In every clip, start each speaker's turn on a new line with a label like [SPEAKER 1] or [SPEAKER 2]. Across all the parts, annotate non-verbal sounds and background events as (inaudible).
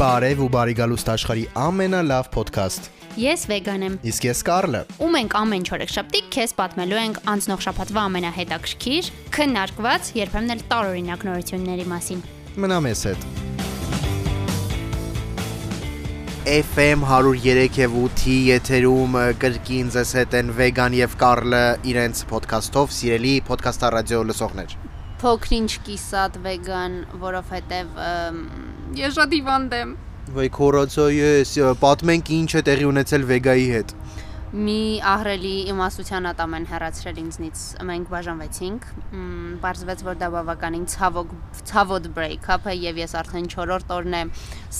[SPEAKER 1] Բարև ու բարի գալուստ աշխարի ամենալավ ոդքասթ։
[SPEAKER 2] Ես վեգան եմ։
[SPEAKER 1] Իսկ ես Կարլը։
[SPEAKER 2] Ու մենք ամեն չորեքշաբթի քեզ պատմելու ենք անցնող շաբաթվա ամենահետաքրքիր, քննարկված, երբեմն էլ տարօրինակ նորությունների մասին։
[SPEAKER 1] Մնա մեզ հետ։ FM 103.8-ի եթերում ը, կրկին ձեզ հետ են Վեգան եւ Կարլը իրենց ոդքասթով սիրելի ոդքասթա ռադիո լսողներ։
[SPEAKER 2] Փոքրինչ կիսատ վեգան, որովհետև ես շատ իվանդ եմ։
[SPEAKER 1] Ոայ կորացա ես, պատմենք ինչ է տեղի ունեցել Վեգայի հետ։
[SPEAKER 2] Մի ահրելի իմաստության ատամեն հեռացրել ինձնից։ Մենք բաժանվեցինք։ մ, Պարզվեց, որ դա բավականին ցավոք ցավոտ break-up է եւ ես արդեն 4-րդ օրն է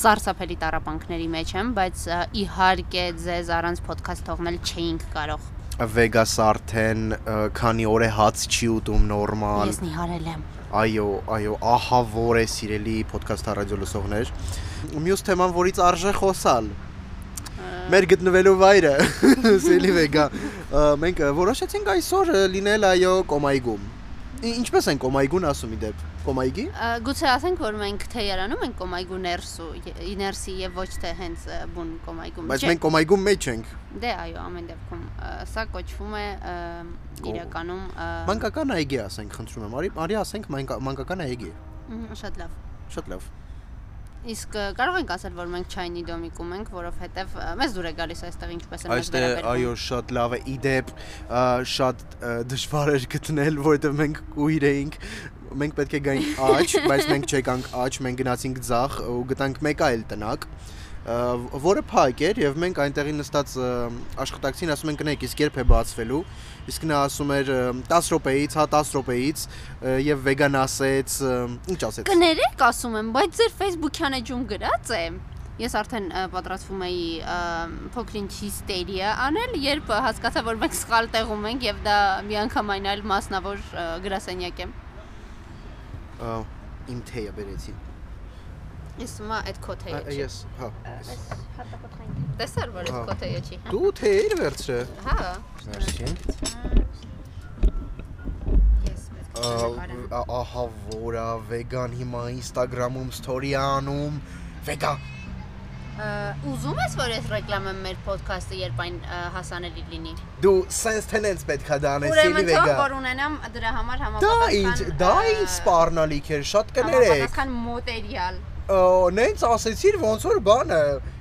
[SPEAKER 2] սարսափելի տարապանքների մեջ եմ, բայց ա, իհարկե ձեզ առանց podcast թողնել չէինք կարող։
[SPEAKER 1] Վեգաս արդեն ը, քանի օր է հաց չի ուտում նորմալ։
[SPEAKER 2] Ես նիհարել եմ։
[SPEAKER 1] Այո, այո, ահա որ է սիրելի ոդքասթ ռադիո լսողներ։ Մյուս թեման, որից արժե խոսալ։ Մեր գտնվելու վայրը, (laughs) Սելի Վեգա։ ը, Մենք ը, որոշեցինք այսօր ը, լինել այո Կոմայգում։ Ի- Ինչպես են Կոմայգուն ասում իդեպ։ Կոմայգի։
[SPEAKER 2] Ա, Գուցե ասենք, որ մենք թեյարանում ենք կոմայգու ներսու, ե- ներսի եւ ոչ թե հենց ա, բուն կոմայգում։
[SPEAKER 1] Բայց
[SPEAKER 2] Չէ,
[SPEAKER 1] մենք Կոմայգում մեջ ենք։
[SPEAKER 2] դե այո, ամեն դեպքում ա, սա կոչվում է ա,
[SPEAKER 1] Կո-
[SPEAKER 2] իրականում ա,
[SPEAKER 1] Մանկական այգի ասենք, խնդրում եմ։ Արի, արի ասենք մանկա- մանկական այգի։
[SPEAKER 2] մ, շատ լավ։
[SPEAKER 1] Շատ լավ։
[SPEAKER 2] Իսկ ա, կարող ենք ասել, որ մենք Չայնի դոմիկում ենք, որովհետև ա, մեզ դուր է գալիս այստեղ ինչպես են մեզ
[SPEAKER 1] Այստեղ այո շատ լավ է իդեպ ա, շատ ա, դժվար էր գտնել, որովհետև մենք ուիր էինք մենք պետք է գայինք աճ, բայց մենք չեկանք աճ, մենք գնացինք ձախ ու գտանք մեկ այլ տնակ ա, վ- որը փակ էր եւ մենք այնտեղի նստած ա, աշխատակցին ասում ենք նայեք իսկ երբ է բացվելու իսկ նա ասում էր ա, 10 րոպեից հա 10 րոպեից ա, եւ վեգան ասեց ա, ինչ ասեց
[SPEAKER 2] Կներեք, ասում եմ, բայց ձեր Facebook-յան էջում գրած է։ Ես արդեն ա, պատրաստվում էի ա, փոքրինչ հիստերիա անել, երբ ա, հասկացա, որ մենք սխալ տեղում ենք եւ դա միանգամայն այլ մասնավոր ա, գրասենյակ է։
[SPEAKER 1] ա, իմ թեյը բերեցի
[SPEAKER 2] Ես հիմա այդ քոթեյը
[SPEAKER 1] Ա,
[SPEAKER 2] չի։
[SPEAKER 1] ես հա ես-
[SPEAKER 2] Տեսար, որ այդ
[SPEAKER 1] Հա։
[SPEAKER 2] քոթեյը չի, հա։
[SPEAKER 1] դու թեյեր վերցրե
[SPEAKER 2] Հա։
[SPEAKER 1] Մերսի
[SPEAKER 2] Ես պետք է
[SPEAKER 1] Ա,
[SPEAKER 2] նկարեմ։
[SPEAKER 1] ա- ահա որա վեգան հիմա Instagram-ում story անում վեգա
[SPEAKER 2] Ա, Ուզում ես, որ ես ռեկլամեմ մեր ոդքասթը, երբ այն ա, հասանելի լինի։
[SPEAKER 1] դու sense tenants պետքա դանես
[SPEAKER 2] Ուրեմն
[SPEAKER 1] էլի
[SPEAKER 2] թող
[SPEAKER 1] վեգա
[SPEAKER 2] որ ունենամ դրա համար
[SPEAKER 1] դա ինչ
[SPEAKER 2] համապատասխան
[SPEAKER 1] դա ինչ սպառնալիք էր շատ կներեք
[SPEAKER 2] Համապատասխան մոտերիալ։
[SPEAKER 1] Ա, նենց ասեցիր ոնց որ բանը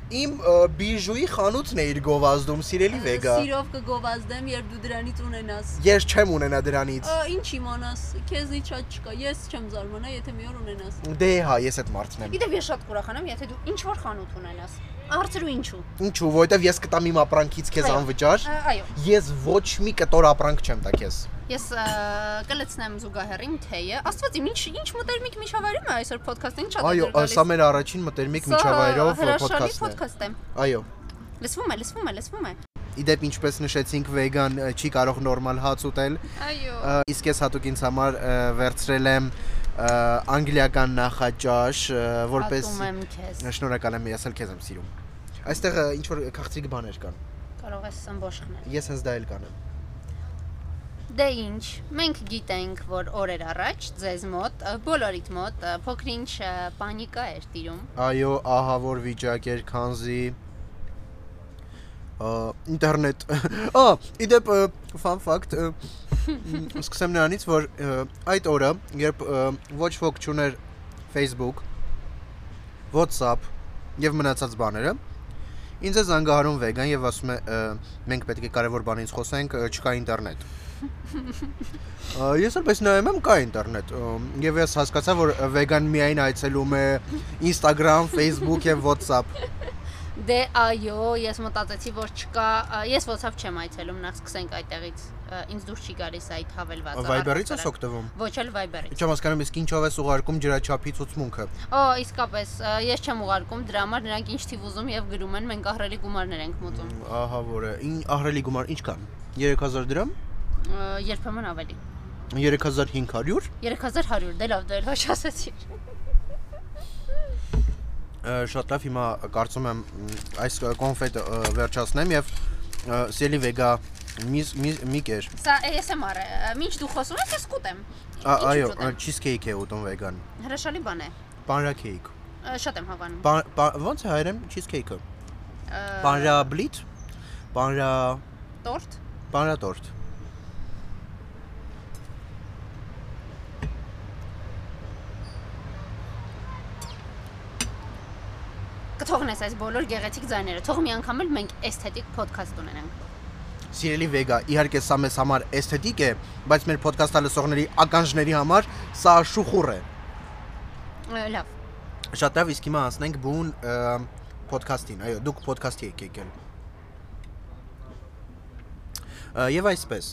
[SPEAKER 1] իմ ա, բիժուի խանութն է իր գովազդում սիրելի վեգա
[SPEAKER 3] Սիրով կգովազդեմ, երբ դու դրանից ունենաս։
[SPEAKER 1] ես չեմ ունենա դրանից
[SPEAKER 3] Ա, Ինչ իմանաս, քեզի շատ չկա։ Ես չեմ զարմանա, եթե մի օր ունենաս։
[SPEAKER 1] դե հա ես այդ մարդն եմ
[SPEAKER 2] Գիտեմ, ես շատ կուրախանամ, եթե դու ինչ որ խանութ ունենաս։ Արցրու ինչու։
[SPEAKER 1] ինչու որովհետև ես կտամ իմ ապրանքից քեզ
[SPEAKER 2] Այո,
[SPEAKER 1] անվճար
[SPEAKER 2] Ա, Այո,
[SPEAKER 1] ես ոչ մի կտոր ապրանք չեմ տա քեզ
[SPEAKER 2] ես ա, կլցնեմ զուգահեռին թեյը։ Աստված իմ ինչ ինչ մտերմիկ միջավայրում է այսօր ոդքասթին շատ
[SPEAKER 1] այո ա, սա մեր առաջին մտերմիկ միջավայրով
[SPEAKER 2] Հրաշալի
[SPEAKER 1] ոդքասթն է
[SPEAKER 2] ոդքասթ է։
[SPEAKER 1] Այո։
[SPEAKER 2] Լսվում է, լսվում է, լսվում է։
[SPEAKER 1] Իդեպ ինչպես նշեցինք, վեգան ը, չի կարող նորմալ հաց ուտել,
[SPEAKER 2] Այո։
[SPEAKER 1] ը, իսկ ես հատուկ ինձ համար ը, վերցրել եմ ը, անգլիական նախաճաշ, ը, որպես
[SPEAKER 2] Պատում եմ քեզ։
[SPEAKER 1] շնորհակալ եմ, ես էլ քեզ եմ սիրում։ Այստեղ ինչ որ քաղցիկ բաներ կան։
[SPEAKER 2] Կարող ես ամբողջնել։
[SPEAKER 1] Ես հենց դա էլ կանեմ։
[SPEAKER 2] Դե ինչ, մենք գիտենք, որ օրեր առաջ ձեզ մոտ, ա, բոլորիդ մոտ ա, փոքրինչ ա, պանիկա էր տիրում։
[SPEAKER 1] Այո, ահա որ վիճակ էր, քանզի ը, ինտերնետ։ Ա, իդեպ fun fact ը, մ, սկսեմ նրանից, որ ը, այդ օրը, երբ ը, ոչ ոք չուներ Facebook, WhatsApp եւ մնացած բաները, ինձ է զանգահարում վեգան եւ ասում է «Ը, մենք պետք է կարեւոր բանից խոսենք, ը, չկա ինտերնետ։ Ա, Ես էլ պես նայում եմ կա ինտերնետ ը, եւ ես հասկացա որ ը, վեգան միայն այցելում է Instagram, Facebook եւ WhatsApp։
[SPEAKER 2] Դե այո, ես մտածեցի, որ չկա, ա, ես WhatsApp չեմ այցելում, նախ սկսենք այդտեղից։ ա, Ինձ դուր չի գալիս այդ հավելվածը։
[SPEAKER 1] Viber-ից ես
[SPEAKER 2] առհասարակ։
[SPEAKER 1] օգտվում։
[SPEAKER 2] Ոչ էլ Viber-ից։
[SPEAKER 1] Չեմ հասկանում իսկ ինչով ես ուղարկում ջրաչափի ցուցմունքը։
[SPEAKER 2] Օ, իսկապես, ա, ես չեմ ուղարկում դրա համար, նրանք ինչ թիվ ուզում եւ գրում են, մենք ահրելի գումարներ ենք մուծում։
[SPEAKER 1] Ահա որը։ Ին ահրելի գումար ինչ կան։ 3000 դրամ,
[SPEAKER 2] Ա, Երբեմն ավելի։
[SPEAKER 1] 3500,
[SPEAKER 2] 3100, դե լավ, դե ոչ ասեցի։
[SPEAKER 1] Ա, շատ լավ հիմա կարծում եմ մ, այս կոնֆետը ը, վերջացնեմ եւ ը, Սելի Վեգա մի մի մի կեր։
[SPEAKER 2] Սա ASMR է։ ա, Մինչ դու խոսում ես, ես կուտեմ։
[SPEAKER 1] Ա,
[SPEAKER 2] Ինչ
[SPEAKER 1] Այո,
[SPEAKER 2] ուտեմ։
[SPEAKER 1] չիզքեյք է ուտում վեգան։
[SPEAKER 2] Հրաշալի բան է։
[SPEAKER 1] Պանրաքեյք։
[SPEAKER 2] Ա, Ա, Շատ եմ հավանում։
[SPEAKER 1] Բա- բա- Ո՞նց է հայերեն cheesecake-ը։
[SPEAKER 2] Ա,
[SPEAKER 1] Պանրաբլիթ, պանրա
[SPEAKER 2] Տորտ։
[SPEAKER 1] պանրատորտ։
[SPEAKER 2] Կթողնես այս բոլոր գեղեցիկ ձայները։ Թող մի անգամ էլ մենք էսթետիկ ոդքաստ ունենանք։
[SPEAKER 1] Սիրելի Վեգա, իհարկե սա մեզ համար էսթետիկ է, բայց մեր ոդկասթը լսողների ականջների համար սա շուխուռ է։
[SPEAKER 2] Ա, Լավ։
[SPEAKER 1] Շատ լավ, իսկ հիմա անցնենք բուն ոդկասթին։ Այո, դուք ոդկասթի եք եկել։ Ա, Եվ այսպես,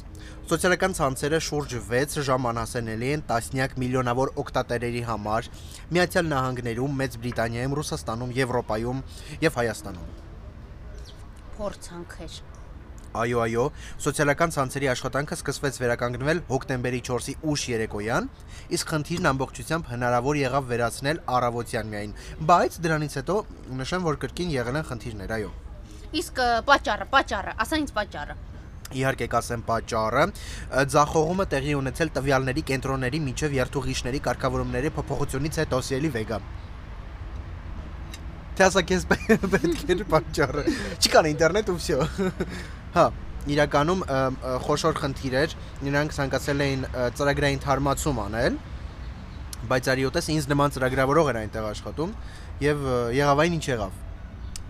[SPEAKER 1] սոցիալական ցանցերը շուրջ 6 ժամ անհասանելի են տասնյակ միլիոնավոր օկտատերերի համար Միացյալ Նահանգներում, Մեծ Բրիտանիայում, Ռուսաստանում, Եվրոպայում եւ Հայաստանում։
[SPEAKER 2] Փորձանքեր։
[SPEAKER 1] Այո, այո, սոցիալական ցանցերի աշխատանքը սկսվեց վերականգնվել հոկտեմբերի 4-ի ուշ երեկոյան, իսկ խնդիրն ամբողջությամբ հնարավոր եղավ վերացնել առավոտյան միայն, բայց դրանից հետո նշեմ, որ կրկին եղել են խնդիրներ, այո։
[SPEAKER 2] Իսկ ա, պատճառը, պատճառը, ասա ինձ պատճառը։
[SPEAKER 1] Իհարկե կասեմ պատճառը, ը, ձախողումը տեղի ունեցել տվյալների կենտրոնների միջև երթուղիշների կարգավորումների փոփոխությունից հետո սիրելի Վեգա։ Թե ասա քեզ պե- պետք է պատճառը։ Չկան ինտերնետ ու վсё։ Հա, իրականում ը, ը, խոշոր խնդիր էր, նրանք ցանկացել էին ը, ծրագրային թարմացում անել, բայց արի ուտես ինձ նման ծրագրավորող էր այնտեղ աշխատում եւ ը, եղավ այն ինչ եղավ։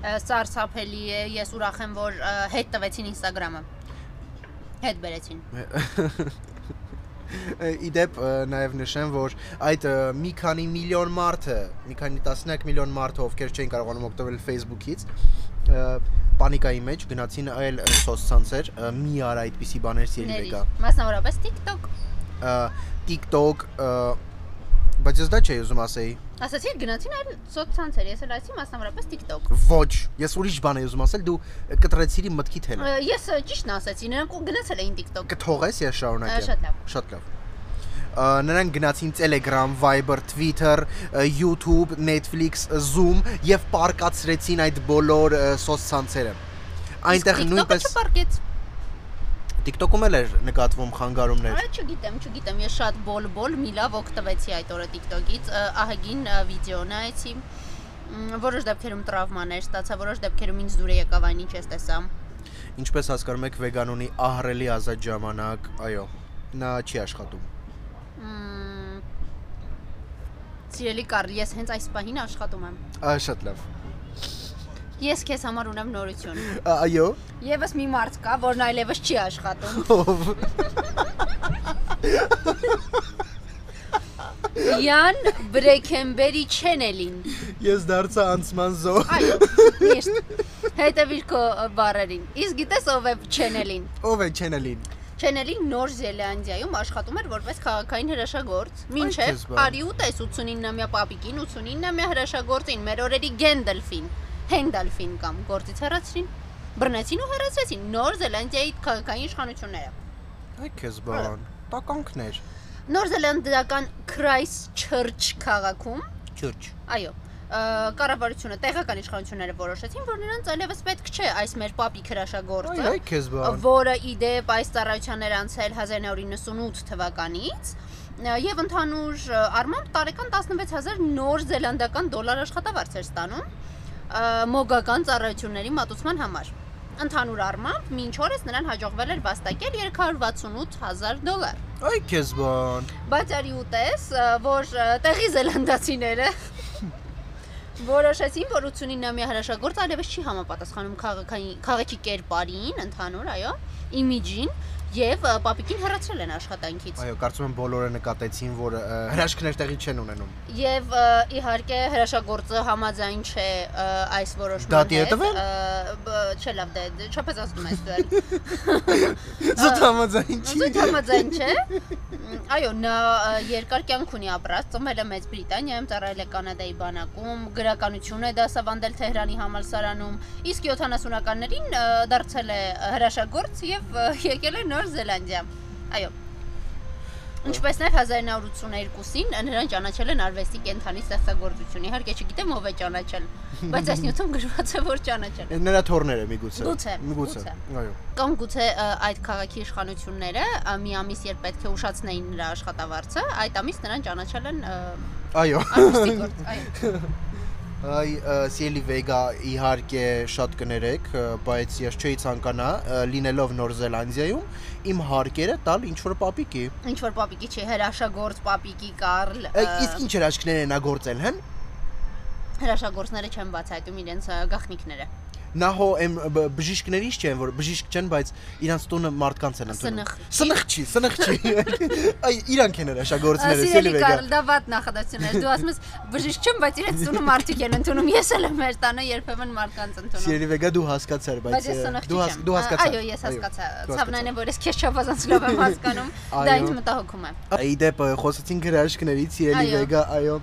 [SPEAKER 2] Ա, Սարսափելի է, ես ուրախ եմ, որ ա, հետ տվեցին Instagram-ը։ Հետ բերեցին։
[SPEAKER 1] Իդեպ նաև նշեմ, որ այդ ը, մի քանի միլիոն մարդը, մի քանի տասնյակ միլիոն մարդը, ովքեր չեն կարողանում օգտվել Facebook-ից, ը, պանիկայի մեջ գնացին այլ ը, սոցցանցեր, ը, մի արա այդպիսի բաներ սիրելի
[SPEAKER 2] Ների,
[SPEAKER 1] եկա։
[SPEAKER 2] Մասնավորապես TikTok։
[SPEAKER 1] ը, TikTok, ը, բայց ես դա չէի ուզում ասեի։
[SPEAKER 2] Ասացի գնացին այլ սոցցանցեր, ես էլ ասի մասնավորապես TikTok։
[SPEAKER 1] Ոչ, ես ուրիշ բան էի ուզում ասել, դու ը, կտրեցիր իմ մտքիդ հենը։
[SPEAKER 2] Ա, Ես ա, ճիշտն ասացի, նրանք ու գնացել էին TikTok։
[SPEAKER 1] Կթողես ես շարունակեմ։
[SPEAKER 2] Ա, շատ լավ։
[SPEAKER 1] Շատ լավ։ Ա, Նրանք գնացին Telegram, Viber, Twitter, ա, YouTube, Netflix, Zoom եւ պարկացրեցին այդ բոլոր ա, սոցցանցերը։ Այնտեղ
[SPEAKER 2] Իսկ
[SPEAKER 1] նույնպես
[SPEAKER 2] TikTok-ը չպարկեց։
[SPEAKER 1] TikTok-ում էլ էր նկատվում խանգարումներ։
[SPEAKER 2] Այո, չգիտեմ, չգիտեմ, ես շատ բոլ-բոլ մի լավ օգտվեցի այդ օրը TikTok-ից, ը, ահագին ը, վիդեո նայեցի։ մ, Որոշ դեպքերում տրավմաներ ստացա, որոշ դեպքերում ինձ դուր եկավ այն, ինչ ես տեսա։
[SPEAKER 1] Ինչպես հասկանում եք, վեգանունի ահռելի ազատ ժամանակ, այո, նա չի աշխատում։
[SPEAKER 2] Մ, Սիրելի Կարլ, ես հենց այս պահին աշխատում եմ։
[SPEAKER 1] Ա, Շատ լավ։
[SPEAKER 2] Ես քեզ համար ունեմ նորություն։
[SPEAKER 1] Ա, Այո։
[SPEAKER 2] Եվս մի մարդ կա, որն այլևս չի աշխատում։
[SPEAKER 1] Ով։
[SPEAKER 2] Յան Բրեքենբերի Չենելին։
[SPEAKER 1] Ես դարձա անցման զո։
[SPEAKER 2] Այո, միշտ հետևիր քո ը, բառերին։ Իսկ գիտես ով է Չենելին։
[SPEAKER 1] Ով է channel-ին։
[SPEAKER 2] Չենելին Նոր Զելանդիայում աշխատում էր որպես քաղաքային հրաշագործ։
[SPEAKER 1] քեզ
[SPEAKER 2] Մինչև
[SPEAKER 1] բան։
[SPEAKER 2] արի ուտես 89-ամյա պապիկին, 89-ամյա հրաշագործին, մեր օրերի Գենդալֆին, Հենդալֆին կամ գործից հեռացրին, բռնեցին ու հեռացրեցին Նոր Զելանդիայի քաղաքային իշխանությունները։
[SPEAKER 1] Այ քեզ բան։ Տականքներ։
[SPEAKER 2] Նոր Զելանդիական Քրայսթչերչ քաղաքում,
[SPEAKER 1] Չուրջ։
[SPEAKER 2] այո, ը, կառավարությունը, տեղական իշխանությունները որոշեցին, որ նրանց այլևս պետք չէ այս մեր պապիկ հրաշագործը։
[SPEAKER 1] Այ քեզ բան։
[SPEAKER 2] որը իդեպ այս ծառայություններ անցել 1998 թվականից եւ ընդհանուր ը, առմամբ տարեկան 16000 նոր զելանդական դոլար աշխատավարձ էր ստանում ը, մոգական ծառայությունների մատուցման համար։ Ընդհանուր առմամբ մինչ օրս նրան հաջողվել էր վաստակել 368000 դոլար։
[SPEAKER 1] Այ քեզ բան։
[SPEAKER 2] Բայց արի ուտես, ը, որ ը, տեղի զելանդացիները որոշեցին, որ 89-ամյա հրաշագործ այլևս չի համապատասխանում քաղաքային քաղաքի կերպարին, ընդհանուր, այո, իմիջին եւ ը, պապիկին հեռացրել են աշխատանքից։
[SPEAKER 1] Այո, կարծում եմ բոլորը նկատեցին, որ ը, հրաշքներ տեղի չեն ունենում։
[SPEAKER 2] Եվ ը, իհարկե հրաշագործը համաձայն չէ ը, այս որոշման
[SPEAKER 1] Դատի է տվել?
[SPEAKER 2] ը, բ- Չէ, լավ, դե դե չափից ասում ես դու։ այլ։
[SPEAKER 1] Զուտ համաձայն չի։
[SPEAKER 2] Զուտ համաձայն չէ։ Մ, Այո, նա ը, երկար կյանք ունի ապրած, ծնվել է Մեծ Բրիտանիայում, ծառայել է Կանադայի բանակում, գրականություն է դասավանդել Թեհրանի համալսարանում, իսկ 70-ականներին ը, դարձել է ը, հրաշագործ եւ ը, եկել է Նոր Զելանդիա։ Այո։ Ինչպես նաև 1982-ին նրան ճանաչել են արվեստի կենթանի ստեղծագործություն։ Իհարկե չգիտեմ ով է ճանաչել, բայց այս նյութում գրված է որ ճանաչել։
[SPEAKER 1] Նրա թորները միգուցե։
[SPEAKER 2] Գուցե,
[SPEAKER 1] Միգուցե։ Այո։
[SPEAKER 2] Կամ գուցե ը, այդ քաղաքի իշխանությունները ը, մի ամիս երբ պետք է ուշացնեին նրա աշխատավարձը, այդ ամիս նրան ճանաչել են ը,
[SPEAKER 1] Այո։
[SPEAKER 2] արվեստի գործ, այո։
[SPEAKER 1] Այ ը, Սիելի Վեգա իհարկե շատ կներեք, ը, բայց ես չէի ցանկանա ը, լինելով Նոր Զելանդիայում իմ հարկերը տալ ինչ որ պապիկի։
[SPEAKER 2] Ինչ որ պապիկի չի հրաշագործ պապիկի Կարլ։
[SPEAKER 1] Ա,
[SPEAKER 2] ը,
[SPEAKER 1] Իսկ ինչ հրաշքներ են ագործել հն։
[SPEAKER 2] հրաշագործները չեն բացահայտում իրենց ը, գաղտնիքները։
[SPEAKER 1] Նահո եմ բժիշկներից չեն, որ բժիշկ չեն, բայց իրանց տունը մարդկանց են ընդունում։
[SPEAKER 2] Սնխ։
[SPEAKER 1] Սնխ չի, սնխ չի։
[SPEAKER 2] (laughs)
[SPEAKER 1] Այ իրանք են հրաշագործները,
[SPEAKER 2] Սիրելի
[SPEAKER 1] Սիելի Վեգա։
[SPEAKER 2] Կարլ, դա վատ նախադասություն էր։ Դու ասում ես բժիշկ չեմ, բայց իրենց տունը մարդիկ են ընդունում։ Ես էլ եմ մեր տանը երբեմն մարդկանց ընդունում։
[SPEAKER 1] Սիրելի Վեգա դու հասկացար,
[SPEAKER 2] Բայց
[SPEAKER 1] բայց
[SPEAKER 2] ես
[SPEAKER 1] ը,
[SPEAKER 2] սնխ
[SPEAKER 1] դու հաս-
[SPEAKER 2] չեմ։
[SPEAKER 1] դու հասկացար։
[SPEAKER 2] Այո, ես հասկացա։
[SPEAKER 1] դու
[SPEAKER 2] Ցավն այն է, որ ես քեզ չափազանց լավ եմ հասկանում։ Դա
[SPEAKER 1] Այո։
[SPEAKER 2] ինձ մտահոգում է։
[SPEAKER 1] Իդեպ խոսեցինք հրաշքներից, Սիրելի
[SPEAKER 2] Այո։
[SPEAKER 1] Վեգա, այո։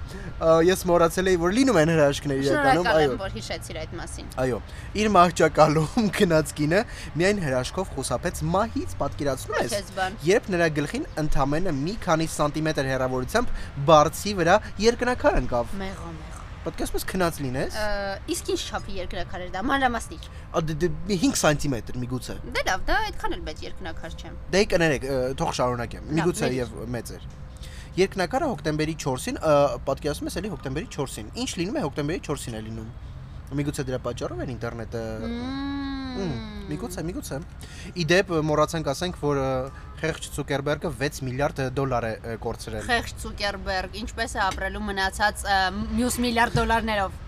[SPEAKER 1] Ա, Ես մոռացել էի, որ լինում են հրաշքներ իրականում,
[SPEAKER 2] Շնորհակալ եմ,
[SPEAKER 1] այո։
[SPEAKER 2] որ հիշեցիր այդ մասին։
[SPEAKER 1] Այո, իր մահճակալում (laughs) գնաց կինը միայն հրաշքով խուսափեց մահից, պատկերացնում ես։
[SPEAKER 2] Քեզ բան։
[SPEAKER 1] Երբ նրա գլխին ընդամենը մի քանի սանտիմետր հեռավորությամբ բարձի վրա երկնակար ընկավ։
[SPEAKER 2] Մեղո, մեղո։
[SPEAKER 1] Պատկերացնում ես քնած լինես։
[SPEAKER 2] Ա, Իսկ ինչ չափի երկրակար էր դա, մանրամասնիկ։
[SPEAKER 1] ա, դե- դե 5 սանտիմետր միգուցե։
[SPEAKER 2] Դե լավ, դա այդքան էլ բայց երկրնակար չեմ։
[SPEAKER 1] Դե կներեք, ը, թող շարունակեմ։ Միգուցե
[SPEAKER 2] մի-
[SPEAKER 1] եւ մեծ էր։ Երկնակարը հոկտեմբերի 4-ին, ը, պատկերացնում ես էլի հոկտեմբերի 4-ին։ Ինչ լինում է հոկտեմբերի 4-ին է լինում։ Միգուցե դրա պատճառով էր ինտերնետը։ Մմ, Միգուցե, միգուցե։ Իդեպ մոռացանք ասենք, որ ը, խեղճ Ցուկերբերգը 6 միլիարդ դոլար է ը, կորցրել։
[SPEAKER 2] Խեղճ Ցուկերբերգ, ինչպես է ապրելու մնացած ա, մյուս միլիարդ դոլարներով։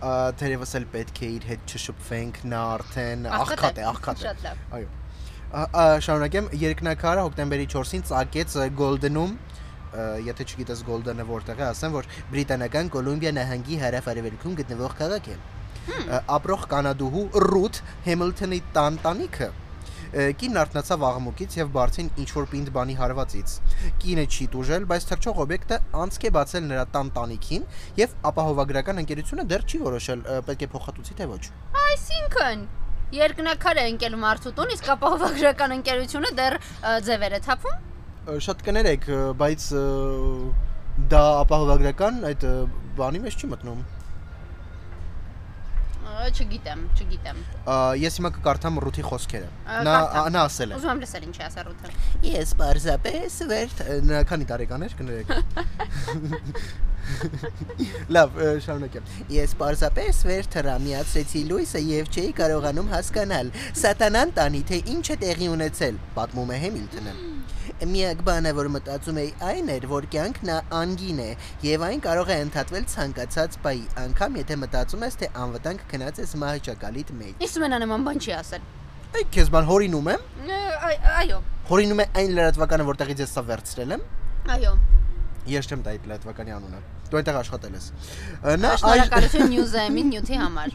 [SPEAKER 1] Ա, Թերևս էլ պետք է իր հետ չշփվենք, նա արդեն
[SPEAKER 2] Աղքատ
[SPEAKER 1] աղքատ
[SPEAKER 2] է,
[SPEAKER 1] է, աղքատ է։
[SPEAKER 2] շատ լավ։
[SPEAKER 1] Այո։ Ա- ա, Շարունակեմ, երկնակարը հոկտեմբերի 4-ին ծագեց ը, Golden-ում, ը, եթե չգիտես Golden-ը որտեղ է, ասեմ, որ բրիտանական Կոլումբիա նահանգի հարավարևելքում գտնվող քաղաք է։ Ա, Ապրող կանադուհու Ռութ Հեմիլթոնի տան տանիքը ը, Կինն արթնացավ աղմուկից եւ բարձին ինչ որ պինդ բանի հարվածից։ Կինը չի դուժել, բայց թրջող օբյեկտը անցք է բացել նրա տան տանիքին եւ ապահովագրական ընկերությունը դեռ չի որոշել ը, պետք է փոխհատուցի թե ոչ։
[SPEAKER 2] Այսինքն երկնակար է ընկել մարդու տուն, իսկ ապահովագրական ընկերությունը դեռ ա, ձևեր է թափում։
[SPEAKER 1] Ա, շատ կներեք, ա, բայց ա, դա ապահովագրական այդ ա, բանի մեջ չի մտնում։
[SPEAKER 2] Ա, Չգիտեմ, չգիտեմ։
[SPEAKER 1] Ա, Ես հիմա կկարդամ Ռութի խոսքերը։
[SPEAKER 2] Ա,
[SPEAKER 1] Նա
[SPEAKER 2] կարդա։
[SPEAKER 1] ա, նա ասել է.
[SPEAKER 2] Ուզում եմ լսել ինչի ասա Ռութը։
[SPEAKER 1] Ես բարձապես վերջ նա քանի տարեկան էր (laughs) կներեք։ Լավ, ա, շարունակեմ։ Ես բարձապես վերջ հրամիացրեցի լույսը եւ չէի կարողանում հասկանալ սատանան տանի թե ինչ է տեղի ունեցել, պատմում է Հեմիլթոնը։ Միակ բանը, որ մտածում էի, այն էր, որ կյանքն ա- անգին է եւ այն կարող է ընդհատվել ցանկացած բայի, անգամ եթե մտածում ես, թե անվտանգ քնած ես մահճակալիդ մեջ։
[SPEAKER 2] Իսկ մենա նման բան չի ասել։
[SPEAKER 1] Այդ քեզ բան հորինում եմ։
[SPEAKER 2] Ա, այ- Այո,
[SPEAKER 1] Հորինում է այն լրատվականը, որտեղից ես սա վերցրել եմ։
[SPEAKER 2] այո։
[SPEAKER 1] Ես չեմ տա այդ լրատվականի անունը։ Դու այնտեղ աշխատել ես։ Ա, Նա այժմ-
[SPEAKER 2] Շնորհակալություն News-ի նյութի համար։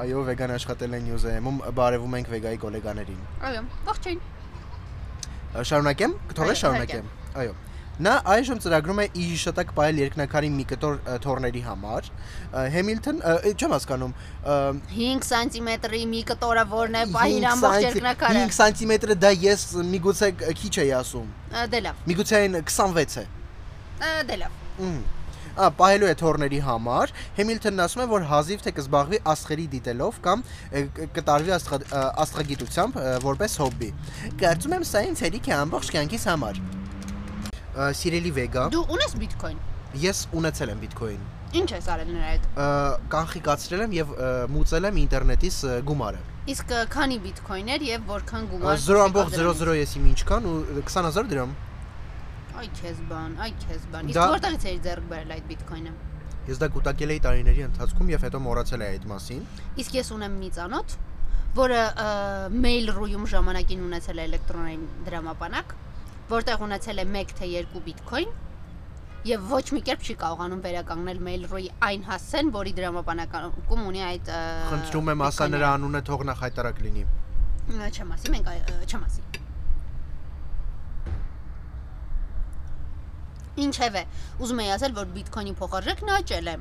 [SPEAKER 1] այո, վեգան աշխատել են News-ում, բարևում ենք վեգայի գոլեգաներին։
[SPEAKER 2] Այո, ողջույն։
[SPEAKER 1] Շարունակեմ, կթողես
[SPEAKER 2] Այո,
[SPEAKER 1] շարունակեմ։ Այո։ Նա այժմ ծրագրում է իր շտակ պայել երկնակարի մի կտոր ը, թորների համար։ ը, Հեմիլթոն, ը, ը, չեմ հասկանում, ը,
[SPEAKER 2] 5 սանտիմետրի մի կտորը որն է, պահին
[SPEAKER 1] 5
[SPEAKER 2] ամբողջ
[SPEAKER 1] սանտի-
[SPEAKER 2] երկնակարը։
[SPEAKER 1] 5 սանտիմետրը դա ես միգուցե կ- քիչ էի ասում։
[SPEAKER 2] Ա, Դե լավ,
[SPEAKER 1] Միգուցե այն 26 է։
[SPEAKER 2] ա, դե լավ։
[SPEAKER 1] Մ, Ա, պահելու է թորների համար։ Հեմիլթոնն ասում է, որ հազիվ թե կզբաղվի աստղերի դիտելով կամ ը, կ- կտարվի աստղա- ը, աստղագիտությամբ ը, որպես հոբբի։ Կարծում եմ սա ինձ հերիք է ամբողջ կյանքիս համար։ Ա, Սիրելի Վեգա,
[SPEAKER 2] Դու ունես Bitcoin։
[SPEAKER 1] Ես ունեցել եմ Bitcoin։
[SPEAKER 2] Ինչ ես արել նրա հետ։
[SPEAKER 1] ը, Կանխիկացրել եմ եւ ը, մուծել եմ ինտերնետից ը, գումարը։
[SPEAKER 2] Իսկ ա, քանի Bitcoin էր եւ որքան
[SPEAKER 1] Ա,
[SPEAKER 2] գումար։
[SPEAKER 1] 0.00 ես իմ ինչքան ու 20000 դրամ։
[SPEAKER 2] Այ քեզ բան, այ քեզ բան։ Իսկ
[SPEAKER 1] Դա-
[SPEAKER 2] որտեղից էի ձեռք բերել այդ Bitcoin-ը։
[SPEAKER 1] Ես դա կուտակել էի տարիների ընթացքում եւ հետո մոռացել էի այդ մասին։
[SPEAKER 2] Իսկ ես ունեմ մի ծանոթ, որը ը, Mail.ru-ում ժամանակին ունեցել է էլեկտրոնային դրամապանակ, որտեղ ունեցել է 1 թե 2 Bitcoin եւ ոչ մի կերպ չի կարողանում վերականգնել Mail.ru-ի այն հասցեն, որի դրամապանակում ունի այդ ը,
[SPEAKER 1] Խնդրում եմ ասա
[SPEAKER 2] Bitcoin-ը։
[SPEAKER 1] նրա անունը թող նախ հայտարար լինի։
[SPEAKER 2] Նա չեմ ասի, մենք այ- ը, չեմ ասի։ Ինչևէ, ուզում եի ասել, որ Bitcoin-ի փոխարժեքն աճել է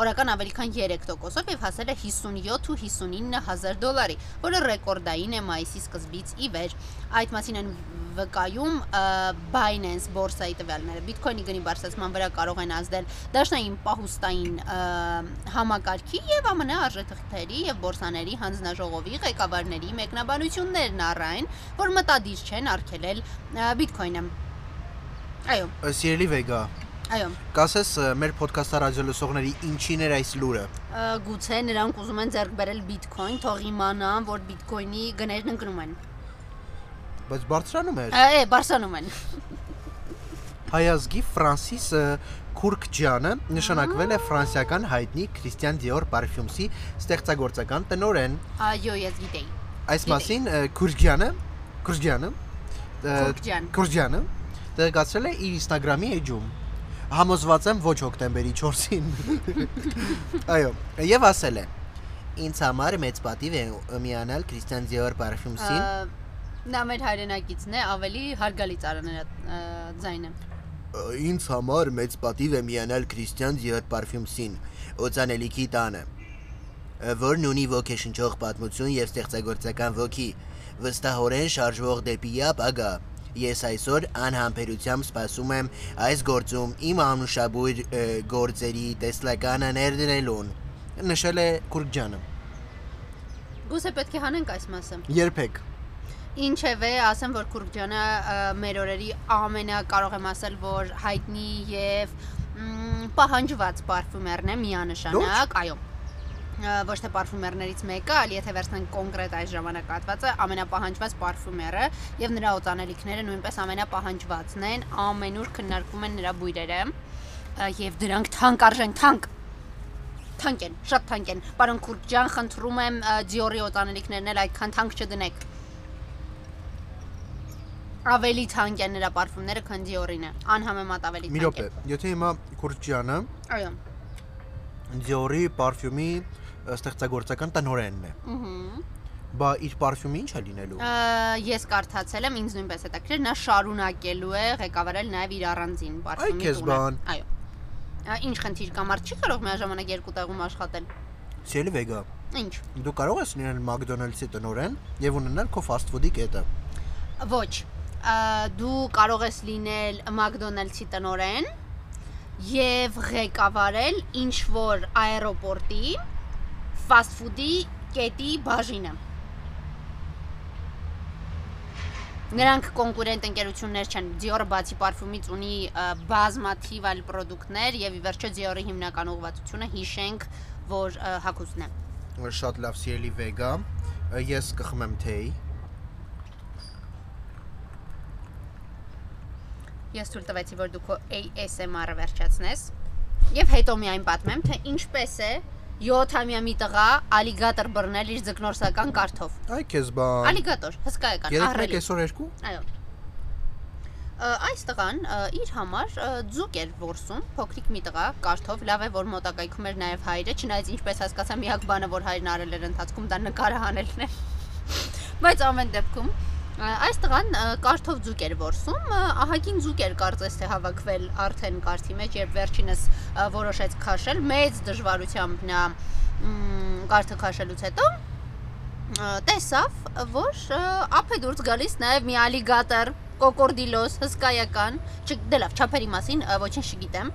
[SPEAKER 2] օրական ավելի քան 3%-ով եւ հասել է 57 ու 59000 դոլարի, որը ռեկորդային է մայիսի սկզբից ի վեր։ Այդ մասին են վկայում ը, Binance բորսայի տվյալները։ Bitcoin-ի գնի բարձրացման վրա կարող են ազդել դաշնային պահուստային ը, համակարգի եւ ԱՄՆ արժեթղթերի եւ բորսաների հանձնաժողովի ղեկավարների մեկնաբանություններն առայն, որ մտադիր չեն արգելել ը, Bitcoin-ը։ Այո,
[SPEAKER 1] Ա, Սիրելի Վեգա,
[SPEAKER 2] Այո,
[SPEAKER 1] Կասես ը, մեր ոդքասթը ռադիո լսողների ինչին էր այս լուրը։
[SPEAKER 2] ը, գուցե նրանք ուզում են ձեռք բերել Bitcoin, թող իմանան, որ Bitcoin-ի գներն ընկնում են։
[SPEAKER 1] Բայց բարձրանում էր։
[SPEAKER 2] Ա, Է, բարձանում են։
[SPEAKER 1] Հայազգի Ֆրանսիս ը, Քուրկջյանը նշանակվել է ֆրանսիական հայտնի Christian Dior Parfums-ի ստեղծագործական տնորեն։
[SPEAKER 2] Այո, ես գիտեի։
[SPEAKER 1] Այս
[SPEAKER 2] Գիտեի։
[SPEAKER 1] մասին ը, Քուրկջյանը, Քուրկջյանը, ը,
[SPEAKER 2] Քուրկջյան։
[SPEAKER 1] Քուրկջյանը տեղեկացրել է իր Instagram-ի էջում։ Համոզված եմ ոչ հոկտեմբերի 4-ին։ Այո, եւ ասել է. Ինձ համար մեծ պատիվ է միանալ Christian Dior Parfums-ին։
[SPEAKER 2] Ա, Նա մեր հայրենակիցն է, ավելի հարգալից արաներա ձայնը։
[SPEAKER 1] Ինձ համար մեծ պատիվ է միանալ Քրիստիան Ձիոտ Պարֆյումսին, օծանելիքի տանը, որն ունի ոգեշնչող պատմություն եւ ստեղծագործական ոգի, վստահորեն շարժվող դեպի ապագա։ Ես այսօր անհամբերությամբ սպասում եմ այս գործում իմ անուշաբույր ը, գործերի տեսլականը ներդրելուն։ Նշել է Կուրգջանը։
[SPEAKER 2] Գուցե պետք է հանենք այս մասը։
[SPEAKER 1] Երբեք։
[SPEAKER 2] Ինչևէ, ասեմ, որ Քուրգջյանը ը, մեր օրերի ամենա կարող եմ ասել, որ հայտնի եւ մ, պահանջված պարֆումերն է միանշանակ, այո։ Ա, Ոչ թե պարֆումերներից մեկը, այլ եթե վերցնենք կոնկրետ այս ժամանակահատվածը, ամենապահանջված պարֆումերը եւ նրա օծանելիքները նույնպես ամենապահանջվածն են, ամենուր քննարկվում են նրա բույրերը ա, եւ դրանք թանկ արժեն, թանկ թանկ են, շատ թանկ են։ Պարոն Քուրգջյան, խնդրում եմ ա, Dior-ի օտանելիքներն էլ այդքան թանկ չդնեք։ Ավելի թանկ են նրա պարֆումները, քան Dior-ինը։ Անհամեմատ ավելի թանկ։
[SPEAKER 1] Մի րոպե, եթե հիմա Կուրգջյանը
[SPEAKER 2] Այո։
[SPEAKER 1] Dior-ի Պարֆյումի ստեղծագործական տնօրենն է։
[SPEAKER 2] Ահա։
[SPEAKER 1] Բա իր պարֆյումը ի՞նչ է լինելու։
[SPEAKER 2] Ես կարդացել եմ, ինձ նույնպես հետաքրքիր, նա շարունակելու է ղեկավարել նաև իր առանձին պարֆումի
[SPEAKER 1] քեզ բան։
[SPEAKER 2] Այո։ Ա, Ինչ խնդիր կա, մարդ չի կարող միաժամանակ երկու տեղում աշխատել։
[SPEAKER 1] Սիրելի Վեգա,
[SPEAKER 2] Ինչ։
[SPEAKER 1] դու կարող ես լինել McDonald's-ի տնորեն եւ ունենալ քո fast food-ի կետը։
[SPEAKER 2] Ոչ։ Ա, Դու կարող ես լինել McDonald's-ի տնորեն եւ ղեկավարել ինչ որ աերոպորտի fast food-ի կետի բաժինը։ Նրանք կոնկուրենտ ընկերություններ չեն։ Dior-ը բացի պարֆումից ունի ա, բազմաթիվ այլ product-ներ եւ ի վերջո Dior-ի հիմնական ուղղվածությունը հիշենք, որ ա, հագուստն է։
[SPEAKER 1] Շատ լավ, սիրելի Վեգա, ես կխմեմ թեյ։
[SPEAKER 2] Ես ցույց տվեցի, որ դու քո ASMR-ը վերջացնես։ Եվ հետո միայն պատմեմ, թե ինչպես է 7-ամյա մի տղա ալիգատոր բռնել իր ձկնորսական կարթով։
[SPEAKER 1] Այ քեզ բան։
[SPEAKER 2] Ալիգատոր, հսկայական,
[SPEAKER 1] Երեք մեկ
[SPEAKER 2] ահռելի։
[SPEAKER 1] այսօր երկու։
[SPEAKER 2] Այո։ Ա, Այս տղան ա, իր համար ա, ձուկ էր որսում, փոքրիկ մի տղա, կարթով, լավ է որ մոտակայքում էր նաև հայրը, չնայած ինչպես հասկացա, միակ բանը որ հայրն արել էր ընթացքում դա նկարահանելն է։ Բայց ամեն դեպքում ա, այս տղան ա, կարթով ձուկ էր որսում, ա, ահագին ձուկ էր կարծես թե հավաքվել արդեն կարթի մեջ, երբ վերջինս ա, որոշեց քաշել, մեծ դժվարությամբ նա մ, կարթը քաշելուց հետո Ա, տեսավ, որ ա, ափը դուրս գալիս նաև մի ալիգատոր, կոկորդիլոս, հսկայական, չդելավ չափերի մասին ա, ոչինչ չգիտեմ։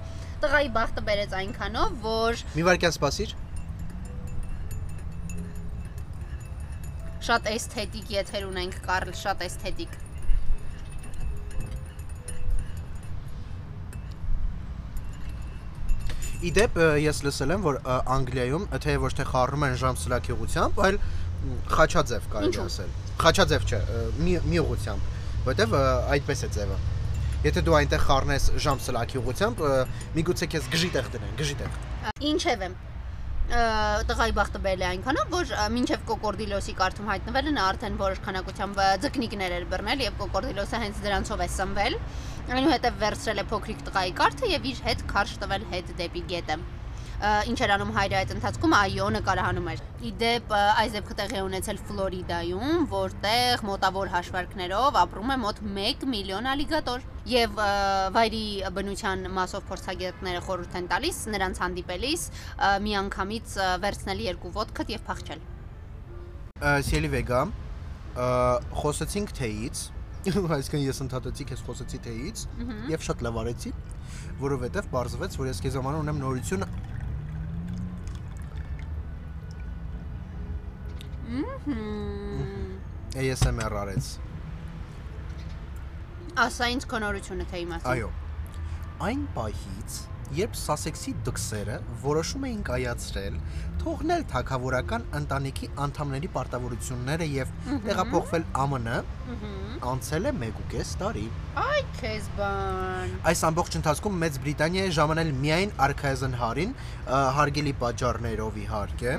[SPEAKER 2] Տղայի բախտը բերեց այնքանով, որ
[SPEAKER 1] Մի վարքյան սպասիր։
[SPEAKER 2] շատ էսթետիկ եթեր ունենք Կարլ, շատ էսթետիկ։
[SPEAKER 1] Իդեպ ը, ես լսել եմ, որ ը, Անգլիայում թե ոչ թե խառնում են ժամ սլաքյուղությամբ, այլ մ, խաչաձև կարելի
[SPEAKER 2] Ինչու՞։
[SPEAKER 1] ասել։ Խաչաձև չէ, ը, մի մի ուղությամբ, որտեվ ը, այդպես է ձևը։ Եթե դու այնտեղ խառնես ժամ սլաքյուղությամբ, ը, միգուցե քեզ գժիտեղ դնեն, գժիտեղ։
[SPEAKER 2] Ա, Ինչևէ ա, տղայի բախտը բերել է այնքանով, որ ա, մինչև կոկորդիլոսի կարթում հայտնվել են արդեն որոշ քանակությամբ ա, ձկնիկներ էր բռնել եւ կոկորդիլոսը հենց դրանցով է սնվել։ Այնուհետև վերցրել է փոքրիկ տղայի կարթը եւ իր հետ քարշ տվել հետ դեպի գետը։ Ա, Ինչ էր անում հայրը այդ ընթացքում, այո, նկարահանում էր։ Իդեպ ա, այս դեպքը տեղի է ունեցել Ֆլորիդայում, որտեղ մոտավոր հաշվարկներով ապրում է մոտ 1 միլիոն ալիգատոր։ Եվ ա, վայրի բնության մասով փորձագետները խորհուրդ են տալիս նրանց հանդիպելիս ա, միանգամից ա, վերցնել երկու ոդկդ եւ փախչել։
[SPEAKER 1] Ա, Սիրելի Վեգա, ա, խոսեցինք թեից, (laughs) այսինքն ես ընդհատեցի քեզ խոսեցի թեից
[SPEAKER 2] Մհմ.
[SPEAKER 1] եւ շատ լավ արեցի, որովհետեւ բարձվեց, որ ես քեզ համար ունեմ նորություն։ ASMR արեց։
[SPEAKER 2] Ասա ինձ քոնորությունը թե իմաստ։
[SPEAKER 1] Այո։ այն պահից, երբ Սասեքսի դքսերը որոշում էին կայացրել թողնել թակավորական ընտանիքի անդամների պարտավորությունները եւ տեղափոխվել ԱՄՆ, անցել է 1.5 տարի։
[SPEAKER 2] Այ քեզ բան։
[SPEAKER 1] Այս ամբողջ ընթացքում Մեծ Բրիտանիայի ժամանել միայն արքայազն հարին ը, հարգելի պատճառներով իհարկե,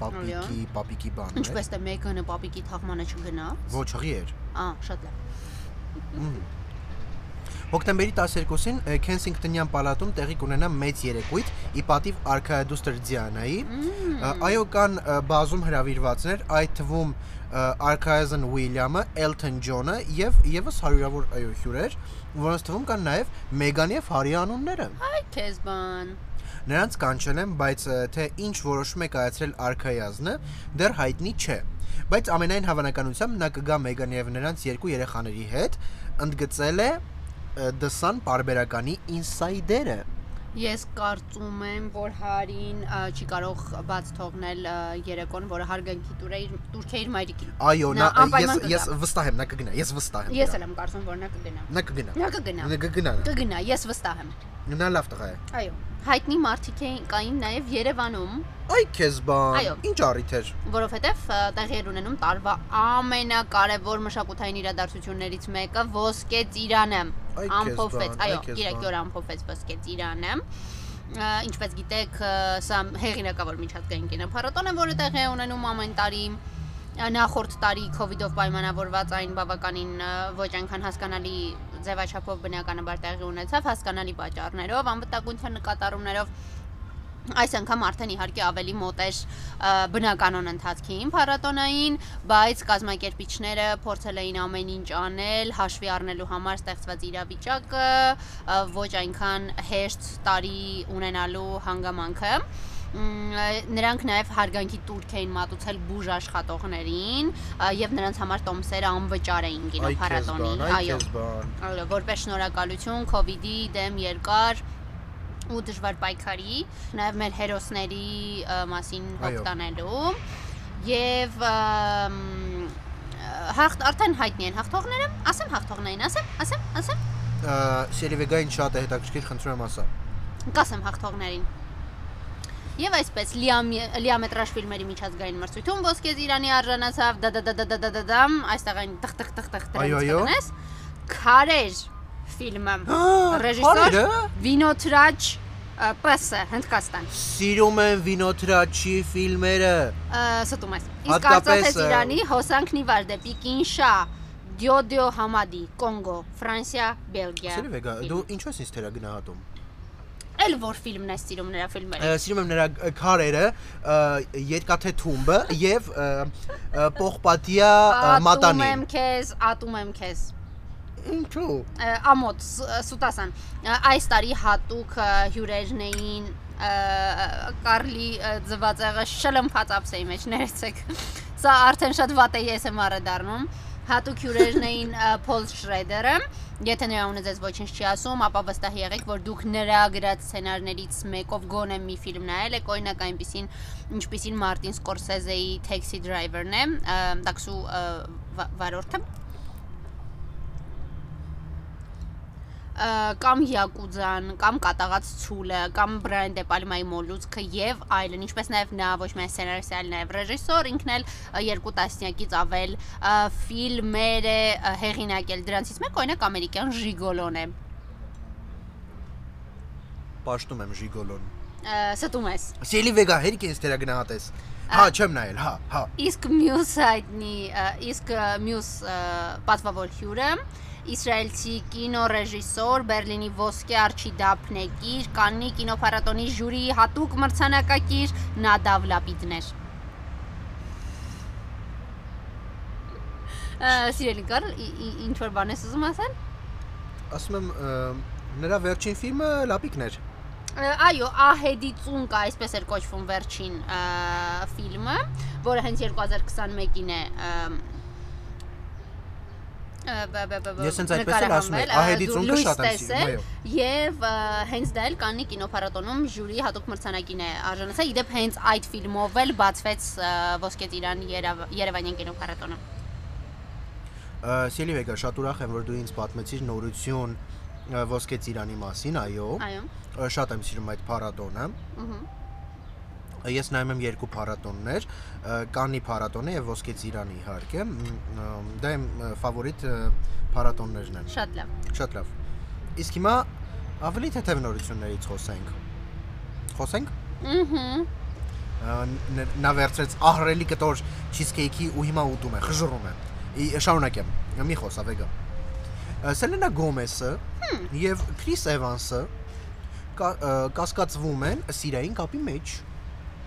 [SPEAKER 1] պապիկի, պապիկի բանն էր։
[SPEAKER 2] Ինչպես թե Մեգանը պապիկի թաղմանը չգնա։
[SPEAKER 1] Ոչ ղի էր։
[SPEAKER 2] Ա, շատ լավ։
[SPEAKER 1] Հոկտեմբերի 12-ին ը, Քենսինգտոնյան պալատում տեղի կունենա մեծ երեկույթ ի պատիվ Արքայադուս Տրդիանայի։ ը, Այո կան ը, բազում հրավիրվածներ, այդ թվում ը, Արքայազն Ուիլյամը, Էլթոն Ջոնը եւ եւս հարյուրավոր այո հյուրեր, որոնց թվում կան նաեւ Մեգան եւ Հարի անունները։
[SPEAKER 2] Այ քեզ բան։
[SPEAKER 1] Նրանց կանչել են, բայց ը, թե ինչ որոշում է կայացրել Արքայազնը, դեռ հայտնի չէ։ Բայց ամենայն հավանականությամբ նա կգա Մեգան եւ նրանց երկու երեխաների հետ, ընդգծել է ը, The Sun բարբերականի ինսայդերը։
[SPEAKER 2] Ես կարծում եմ, որ Հարին ա, չի կարող բաց թողնել ա, երեկոն, որը հարգանքի տուր է իր տուրքե իր մայրիկին։
[SPEAKER 1] Այո,
[SPEAKER 2] Նա
[SPEAKER 1] նա ը,
[SPEAKER 2] անպայման
[SPEAKER 1] ես
[SPEAKER 2] կգա։
[SPEAKER 1] ես վստահ եմ, նա կգնա, ես վստահ եմ։
[SPEAKER 2] Ես
[SPEAKER 1] դրա։
[SPEAKER 2] էլ եմ կարծում, որ նա կգնա։
[SPEAKER 1] Նա կգնա։
[SPEAKER 2] Նա
[SPEAKER 1] Նա կգնա։
[SPEAKER 2] կգնա։
[SPEAKER 1] նա։
[SPEAKER 2] Կգնա, ես վստահ եմ։
[SPEAKER 1] Նա լավ տղա է։
[SPEAKER 2] Այո։ Հայտնի մարդիկ էին կային նաև Երևանում,
[SPEAKER 1] Այ քեզ
[SPEAKER 2] Այո։
[SPEAKER 1] բան։ Ինչ առիթ էր։
[SPEAKER 2] որովհետև ա, տեղի էր ունենում տարվա ամենակարևոր մշակութային իրադարձություններից մեկը Ոսկե Ծիրանը։
[SPEAKER 1] Այ քեզ
[SPEAKER 2] Ամփոփվեց,
[SPEAKER 1] բան, այ
[SPEAKER 2] այո,
[SPEAKER 1] քեզ
[SPEAKER 2] երեք
[SPEAKER 1] բան։
[SPEAKER 2] օր ամփոփվեց Ոսկե Ծիրանը։ Ա, Ինչպես գիտեք, ա, սա հեղինակավոր միջազգային կինոփառատոն է, որը տեղի է ունենում ամեն տարի ա, նախորդ տարի COVID-ով պայմանավորված այն բավականին ա, ոչ այնքան հասկանալի ձևաչափով բնականաբար տեղի ունեցավ հասկանալի պատճառներով, անվտանգության նկատառումներով այս անգամ արդեն իհարկե ավելի մոտ էր ը, բնականոն ընթացքին փառատոնային, բայց կազմակերպիչները փորձել էին ամեն ինչ անել, հաշվի առնելու համար ստեղծված իրավիճակը, ը, ոչ այնքան հեշտ տարի ունենալու հանգամանքը։ Մ, ը, նրանք նաև հարգանքի տուրք էին մատուցել բուժ աշխատողներին ը, եւ նրանց համար տոմսերը անվճար էին
[SPEAKER 1] Այ քեզ
[SPEAKER 2] կինոփառատոնի։
[SPEAKER 1] բան, այ քեզ բան։
[SPEAKER 2] Այո, որպես շնորհակալություն COVID-ի դեմ երկար ու դժվար պայքարի, նաև մեր հերոսների ը, մասին
[SPEAKER 1] Այո.
[SPEAKER 2] հոգտանելու եւ ըմ, հաղթ արդեն հայտնի են հաղթողները, ասեմ հաղթողներին, ասեմ, ասեմ, ասեմ,
[SPEAKER 1] Ա, Սերիվեգային շատ է հետաքրքիր, խնդրում եմ ասա։
[SPEAKER 2] կասեմ հաղթողներին։ Եվ այսպես լիամ լիամետրաժ ֆիլմերի միջազգային մրցույթում ոսկեզ Իրանի արժանացավ դադադադադադամ, այստեղ այն տխ-տխ տխ-տխ
[SPEAKER 1] Այո,
[SPEAKER 2] դրանց
[SPEAKER 1] այո։
[SPEAKER 2] կտնես։ Քարեր ֆիլմը։
[SPEAKER 1] Հարիր
[SPEAKER 2] Ռեժիսոր
[SPEAKER 1] է։
[SPEAKER 2] Վինոթրաչ ՊՍ Հնդկաստան։
[SPEAKER 1] Սիրում եմ վինոթրաչի ֆիլմերը։
[SPEAKER 2] Ա, Ստում ես։ Իսկ
[SPEAKER 1] Հատկապես,
[SPEAKER 2] արծաթես
[SPEAKER 1] ա,
[SPEAKER 2] Իրանի հոսանքնիվար դեպի Կինշա, Դյոդյո Համադի, Կոնգո, Ֆրանսիա, Բելգիա։
[SPEAKER 1] Սերիվեգա,
[SPEAKER 2] ֆիլմ։
[SPEAKER 1] դու ինչու ես ինձ թերա գնահատում։
[SPEAKER 2] Էլ որ ֆիլմն է սիրում նրա ֆիլմերը։
[SPEAKER 1] Ա, սիրում եմ նրա ա, քարերը, ա, երկաթե թումբը եւ ա, ա, պողպատիա ա,
[SPEAKER 2] Ատում եմ
[SPEAKER 1] մատանին։
[SPEAKER 2] քեզ, ատում եմ քեզ։
[SPEAKER 1] Ինչու։
[SPEAKER 2] Ա, Ամոթ ս- սուտասան։ Ա, Այս տարի հատուկ ա, հյուրերն էին ա, Կարլի ա, ձվածեղը շլմփած ապսեի մեջ ներեցեք։ Սա արդեն շատ վատ է ASMR-ը դառնում։ Հատուկ հյուրերն էին ա, Փոլ Շրեդերը։ Եթե նրա ունի ձեզ ոչինչ չի ասում, ապա վստահ եղեք, որ դուք նրա գրած սցենարներից մեկով գոնե մի ֆիլմ նայել եք, օրինակ այնպիսին, ինչպիսին Մարտին Սկորսեզեի Taxi Driver-ն է, ա, տաքսու ա, վա- վարորդը։ Ա, կամ Յակուզան, կամ կատաղած ցուլը, կամ Բրայան դե Պալմայի մոլուցքը եւ այլն, ինչպես նաեւ նա ոչ միայն սցենարիստ, այլ նաեւ ռեժիսոր, ինքն էլ ա, երկու տասնյակից ավել ա, ֆիլմեր է ա, հեղինակել։ Դրանցից մեկը օրինակ ամերիկյան Ժիգոլոն է։
[SPEAKER 1] Պաշտում եմ Ժիգոլոն։
[SPEAKER 2] Ա, Ստում ես։
[SPEAKER 1] Սերիվեգա, հերիք ես թերա գնահատես։ Հա, չեմ նայել, հա, հա։
[SPEAKER 2] Իսկ մյուս հայտնի, ա, իսկ ա, մյուս ա, պատվավոր հյուրը Իսրայելցի կինոռեժիսոր Բերլինի ոսկե արջի դափնեկիր, Կաննի կինոփառատոնի ժյուրիի հատուկ մրցանակակիր Նադավ Լապիդներ։ Ա, Սիրելի Կարլ, ի- ի- ինչ որ բան ես ուզում ասել։
[SPEAKER 1] Ասում եմ ա, նրա վերջին ֆիլմը լապիկն էր։
[SPEAKER 2] Ա, Այո, Ահեդի ծունկա, այսպես էր կոչվում վերջին ա, ֆիլմը, որը հենց 2021-ին է ամ, ա, բա- բա- բա- բա-
[SPEAKER 1] Ես հենց այդպես էլ ասում եմ,
[SPEAKER 2] նկարահանվել, ա,
[SPEAKER 1] Ահեդի
[SPEAKER 2] դու
[SPEAKER 1] ծունկը
[SPEAKER 2] լույս
[SPEAKER 1] շատ եմ
[SPEAKER 2] տեսել,
[SPEAKER 1] սիրում, այո։
[SPEAKER 2] Եվ ա, հենց դա էլ Կաննի կինոփառատոնում ժյուրի հատուկ մրցանակին է արժանացել, իդեպ հենց այդ ֆիլմով էլ բացվեց ա, Ոսկե Տիրան Երավ- Երևանյան կինոփառատոնը։
[SPEAKER 1] Սելիվեգա, շատ ուրախ եմ, որ դու ինձ պատմեցիր նորություն ը, Ոսկե Ծիրանի մասին, այո։
[SPEAKER 2] Այո։
[SPEAKER 1] ը, Շատ եմ սիրում այդ փառատոնը։
[SPEAKER 2] Ահա։
[SPEAKER 1] Ես նայում եմ երկու փառատոններ, ը, Կանի փառատոնը եւ Ոսկե Ծիրանը իհարկե։ մ, ը, Դա իմ ը, ֆավորիտ ը, փառատոններն են։
[SPEAKER 2] Շատ լավ։
[SPEAKER 1] Շատ լավ։ Իսկ հիմա ավելի թեթև նորություններից խոսենք։ Խոսենք։
[SPEAKER 2] Ահա։
[SPEAKER 1] Ա, ն- Նա վերցրեց ահրելի կտոր չիզքեյքի ու հիմա ուտում է, խժռում է։ Ի- Շարունակեմ։ Մի խոս, ավեգա։ Սելենա Գոմեսը եւ Քրիս Էվանսը կա- ը, կասկածվում են սիրային կապի մեջ։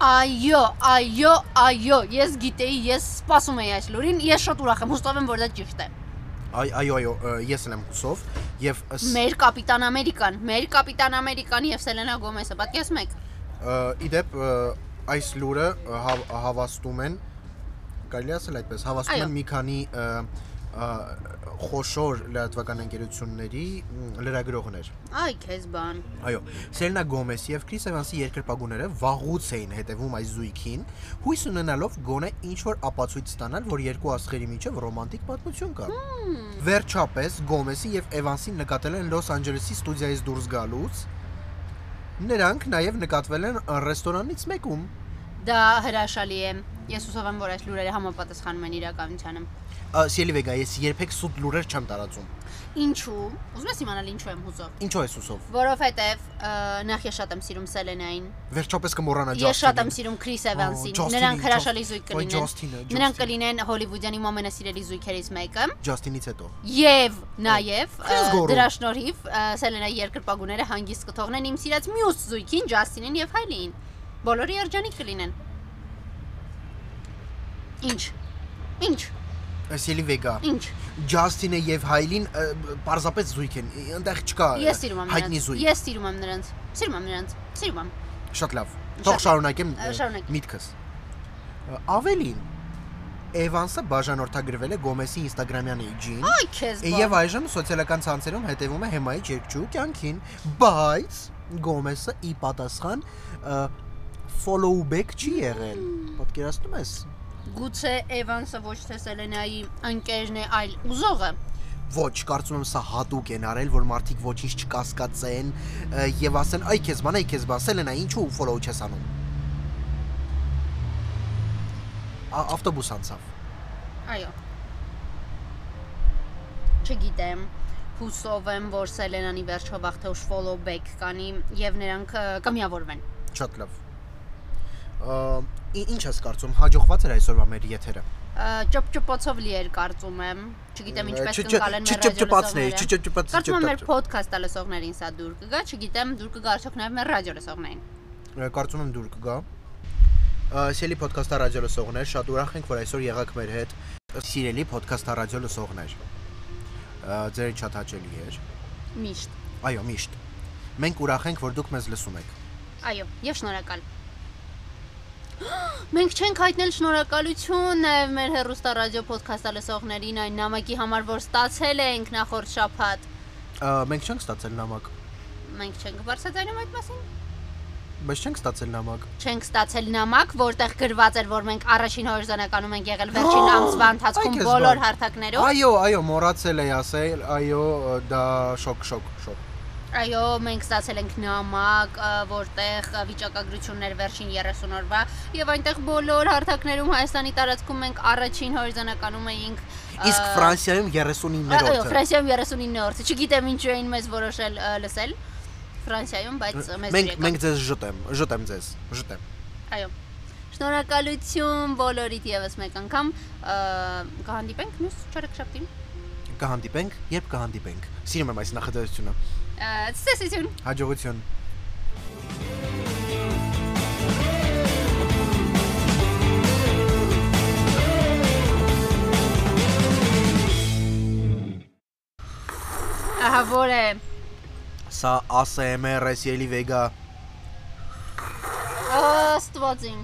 [SPEAKER 2] Այո, այո, այո, ես գիտեի, ես սպասում էի այս լուրին, ես շատ ուրախ եմ, հուստով եմ, որ դա ճիշտ է։
[SPEAKER 1] Այ այո, այո, ը, ես եմ հուսով եւ ս-
[SPEAKER 2] Մեր կապիտան Ամերիկան, մեր կապիտան Ամերիկան եւ Սելենա Գոմեսը, պատկերացնում եք։
[SPEAKER 1] ը, իդեպ ը, այս լուրը ը, հավ- հավաստում են կարելի է ասել այդպես հավաստում
[SPEAKER 2] Այո։
[SPEAKER 1] են մի քանի ը, ը, խոշոր լրատվական ընկերությունների մ, լրագրողներ։
[SPEAKER 2] Այ քեզ բան։
[SPEAKER 1] Այո, Սելնա Գոմես եւ Քրիս Էվանսի երկրպագուները վաղուց էին հետևում այս զույգին, հույս ունենալով գոնե ինչ որ ապացույց ստանալ, որ երկու աշխարհի միջև ռոմանտիկ պատմություն կա։ Վերջապես Գոմեսի եւ Էվանսին նկատել են Լոս Անջելեսի ստուդիայից դուրս գալուց։ Նրանք նաեւ նկատվել են ը, ռեստորանից մեկում։
[SPEAKER 2] Դա հրաշալի է։ Ես հուսով եմ, որ այս լուրերը համապատասխանում են իրականությանը։
[SPEAKER 1] Ա, Սիելի Վեգա, ես երբեք սուտ լուրեր չեմ տարածում։
[SPEAKER 2] Ինչու։ Ուզում ես իմանալ ինչու եմ հուզով։
[SPEAKER 1] Ինչո՞ւ ես հուսով։
[SPEAKER 2] Որովհետեւ ը, նախ ես շատ եմ սիրում Սելենային,
[SPEAKER 1] Վերջապես կմոռանա Ջասթինին։
[SPEAKER 2] Ես շատ եմ սիրում Քրիս Էվանսին։
[SPEAKER 1] Ջասթինին,
[SPEAKER 2] Նրանք
[SPEAKER 1] Ջասթ-
[SPEAKER 2] հրաշալի զույգ
[SPEAKER 1] Ոյ,
[SPEAKER 2] կլինեն։
[SPEAKER 1] Ջասթինը,
[SPEAKER 2] Նրանք
[SPEAKER 1] Ջասթինը։
[SPEAKER 2] կլինեն Հոլիվուդյանի ամենասիրելի զույգերից մեկը
[SPEAKER 1] Ջասթինից հետո։
[SPEAKER 2] եւ նաեւ
[SPEAKER 1] Քրիս
[SPEAKER 2] ը,
[SPEAKER 1] Գորու։
[SPEAKER 2] դրա շնորհիվ ը, Սելենայի երկրպագուները հանգիստ կթողնեն իմ սիրած մյուս զույգին Ջասթինին եւ Հայլին։ Բոլորը երջանիկ կլինեն։ Ինչ։ Ինչ։
[SPEAKER 1] Սիելի Վեգա,
[SPEAKER 2] Ինչ։
[SPEAKER 1] Ջասթինը եւ Հայլին ը, բ- պարզապես զույգ են։ ի- Այնտեղ չկա։ ը,
[SPEAKER 2] Ես սիրում եմ
[SPEAKER 1] հայտնի
[SPEAKER 2] նրանց։
[SPEAKER 1] զույգ։
[SPEAKER 2] Ես սիրում եմ նրանց։ Սիրում եմ նրանց։ Սիրում եմ։
[SPEAKER 1] Շատ լավ։ Թող շարունակեմ ը,
[SPEAKER 2] Ա, շարունակ։
[SPEAKER 1] միտքս։ Ա, Ավելին Էվանսը բաժանորդագրվել է Գոմեսի Instagram-յան էջին
[SPEAKER 2] Այ քեզ
[SPEAKER 1] եւ այժմ սոցիալական ցանցերում հետևում է հեմայի երկչու կյանքին, բայց Գոմեսը ի պատասխան ը, follow back չի եղել։ Պատկերացնում ես։
[SPEAKER 2] Գուցե Էվանսը ոչ թե Սելենայի ընկերն է, այլ ուզողը։
[SPEAKER 1] Ոչ, կարծում եմ սա հատուկ են արել, որ մարդիկ ոչինչ չկասկածեն ը, եւ ասեն, այ քեզ բան, այ քեզ բան, Սելենա, ինչու follow չես անում։ Ա- Ավտոբուս անցավ։
[SPEAKER 2] Այո։ Չգիտեմ հուսով եմ, որ Սելենանի վերջով աղթե ուշ follow back կանի եւ նրանք ը, կմիավորվեն։
[SPEAKER 1] Շատ լավ։ Ա, ի- Ինչ ես կարծում, հաջողված էր այսօրվա մեր եթերը։
[SPEAKER 2] Ը, Ճպճպոցով լի էր կարծում եմ։ Չգիտեմ ինչպես
[SPEAKER 1] Չ- չ-
[SPEAKER 2] կընկալեն մեր
[SPEAKER 1] չճպճպացնեի,
[SPEAKER 2] ռադիոլսողները։
[SPEAKER 1] չճպճպաց,
[SPEAKER 2] Կարծում եմ մեր
[SPEAKER 1] չճպճպաց։
[SPEAKER 2] podcast-ը լսողներին սա դուր կգա, չգիտեմ դուր կգա արդյոք նաեւ մեր ռադիոլսողներին։
[SPEAKER 1] Ա, Կարծում եմ դուր կգա։ Ա, Սիրելի ոդկասթա ռադիո լսողներ, շատ ուրախ ենք, որ այսօր եղաք մեր հետ։ Սիրելի ոդկասթա ռադիո լսողներ։ Ա, Ձեր շատ հաճելի էր։
[SPEAKER 2] Միշտ։
[SPEAKER 1] Այո, միշտ։ Մենք ուրախ ենք, որ դուք մեզ լսում եք։
[SPEAKER 2] Այո, եւ շնորհակալ։ (gasps) Մենք չենք հայտնել շնորհակալություն նաեւ մեր հերոստա ռադիո podcast-ը լսողներին այն նամակի համար, որ ստացել ենք նախորդ շաբաթ։
[SPEAKER 1] Ա, Մենք չենք ստացել նամակ,
[SPEAKER 2] Մենք չենք բարձրացնում այդ մասին։
[SPEAKER 1] բայց չենք ստացել նամակ։
[SPEAKER 2] Չենք ստացել նամակ, որտեղ գրված էր, որ մենք առաջին հորիզոնականում ենք եղել վերջին ամսվա
[SPEAKER 1] (gasps)
[SPEAKER 2] ընթացքում
[SPEAKER 1] Այ քեզ
[SPEAKER 2] բոլոր
[SPEAKER 1] բան։
[SPEAKER 2] հարթակներով։
[SPEAKER 1] Այո, այո, մոռացել էի ասել, այո, դա շոկ, շոկ, շոկ։
[SPEAKER 2] Այո, մենք ստացել ենք նամակ, ը, որտեղ ը, վիճակագրություններ վերջին 30 օրվա եւ այնտեղ բոլոր հարթակներում Հայաստանի տարածքում մենք առաջին հորիզոնականում էինք։ ը,
[SPEAKER 1] Իսկ Ֆրանսիայում
[SPEAKER 2] Այո,
[SPEAKER 1] 39-րդը։
[SPEAKER 2] Ֆրանսիայում 39-րդ։ Չգիտեմ ինչու էին մեզ որոշել ը, լսել Ֆրանսիայում, բայց ը, մեզ
[SPEAKER 1] Մենք
[SPEAKER 2] դուր եկավ։
[SPEAKER 1] մենք ձեզ ժտեմ, ժտեմ ձեզ, ժտեմ։
[SPEAKER 2] Այո։ Շնորհակալություն բոլորիդ եւս մեկ անգամ ը, կհանդիպենք մյուս չորեքշաբթին։
[SPEAKER 1] Կհանդիպենք, երբ կհանդիպենք։ Սիրում եմ այս նախաձեռնությունը։
[SPEAKER 2] Ը, Ցտեսություն։
[SPEAKER 1] Հաջողություն։
[SPEAKER 2] Ահա որ է։
[SPEAKER 1] Սա ASMR-ը Սիելի Վեգա։
[SPEAKER 2] Աստվածին։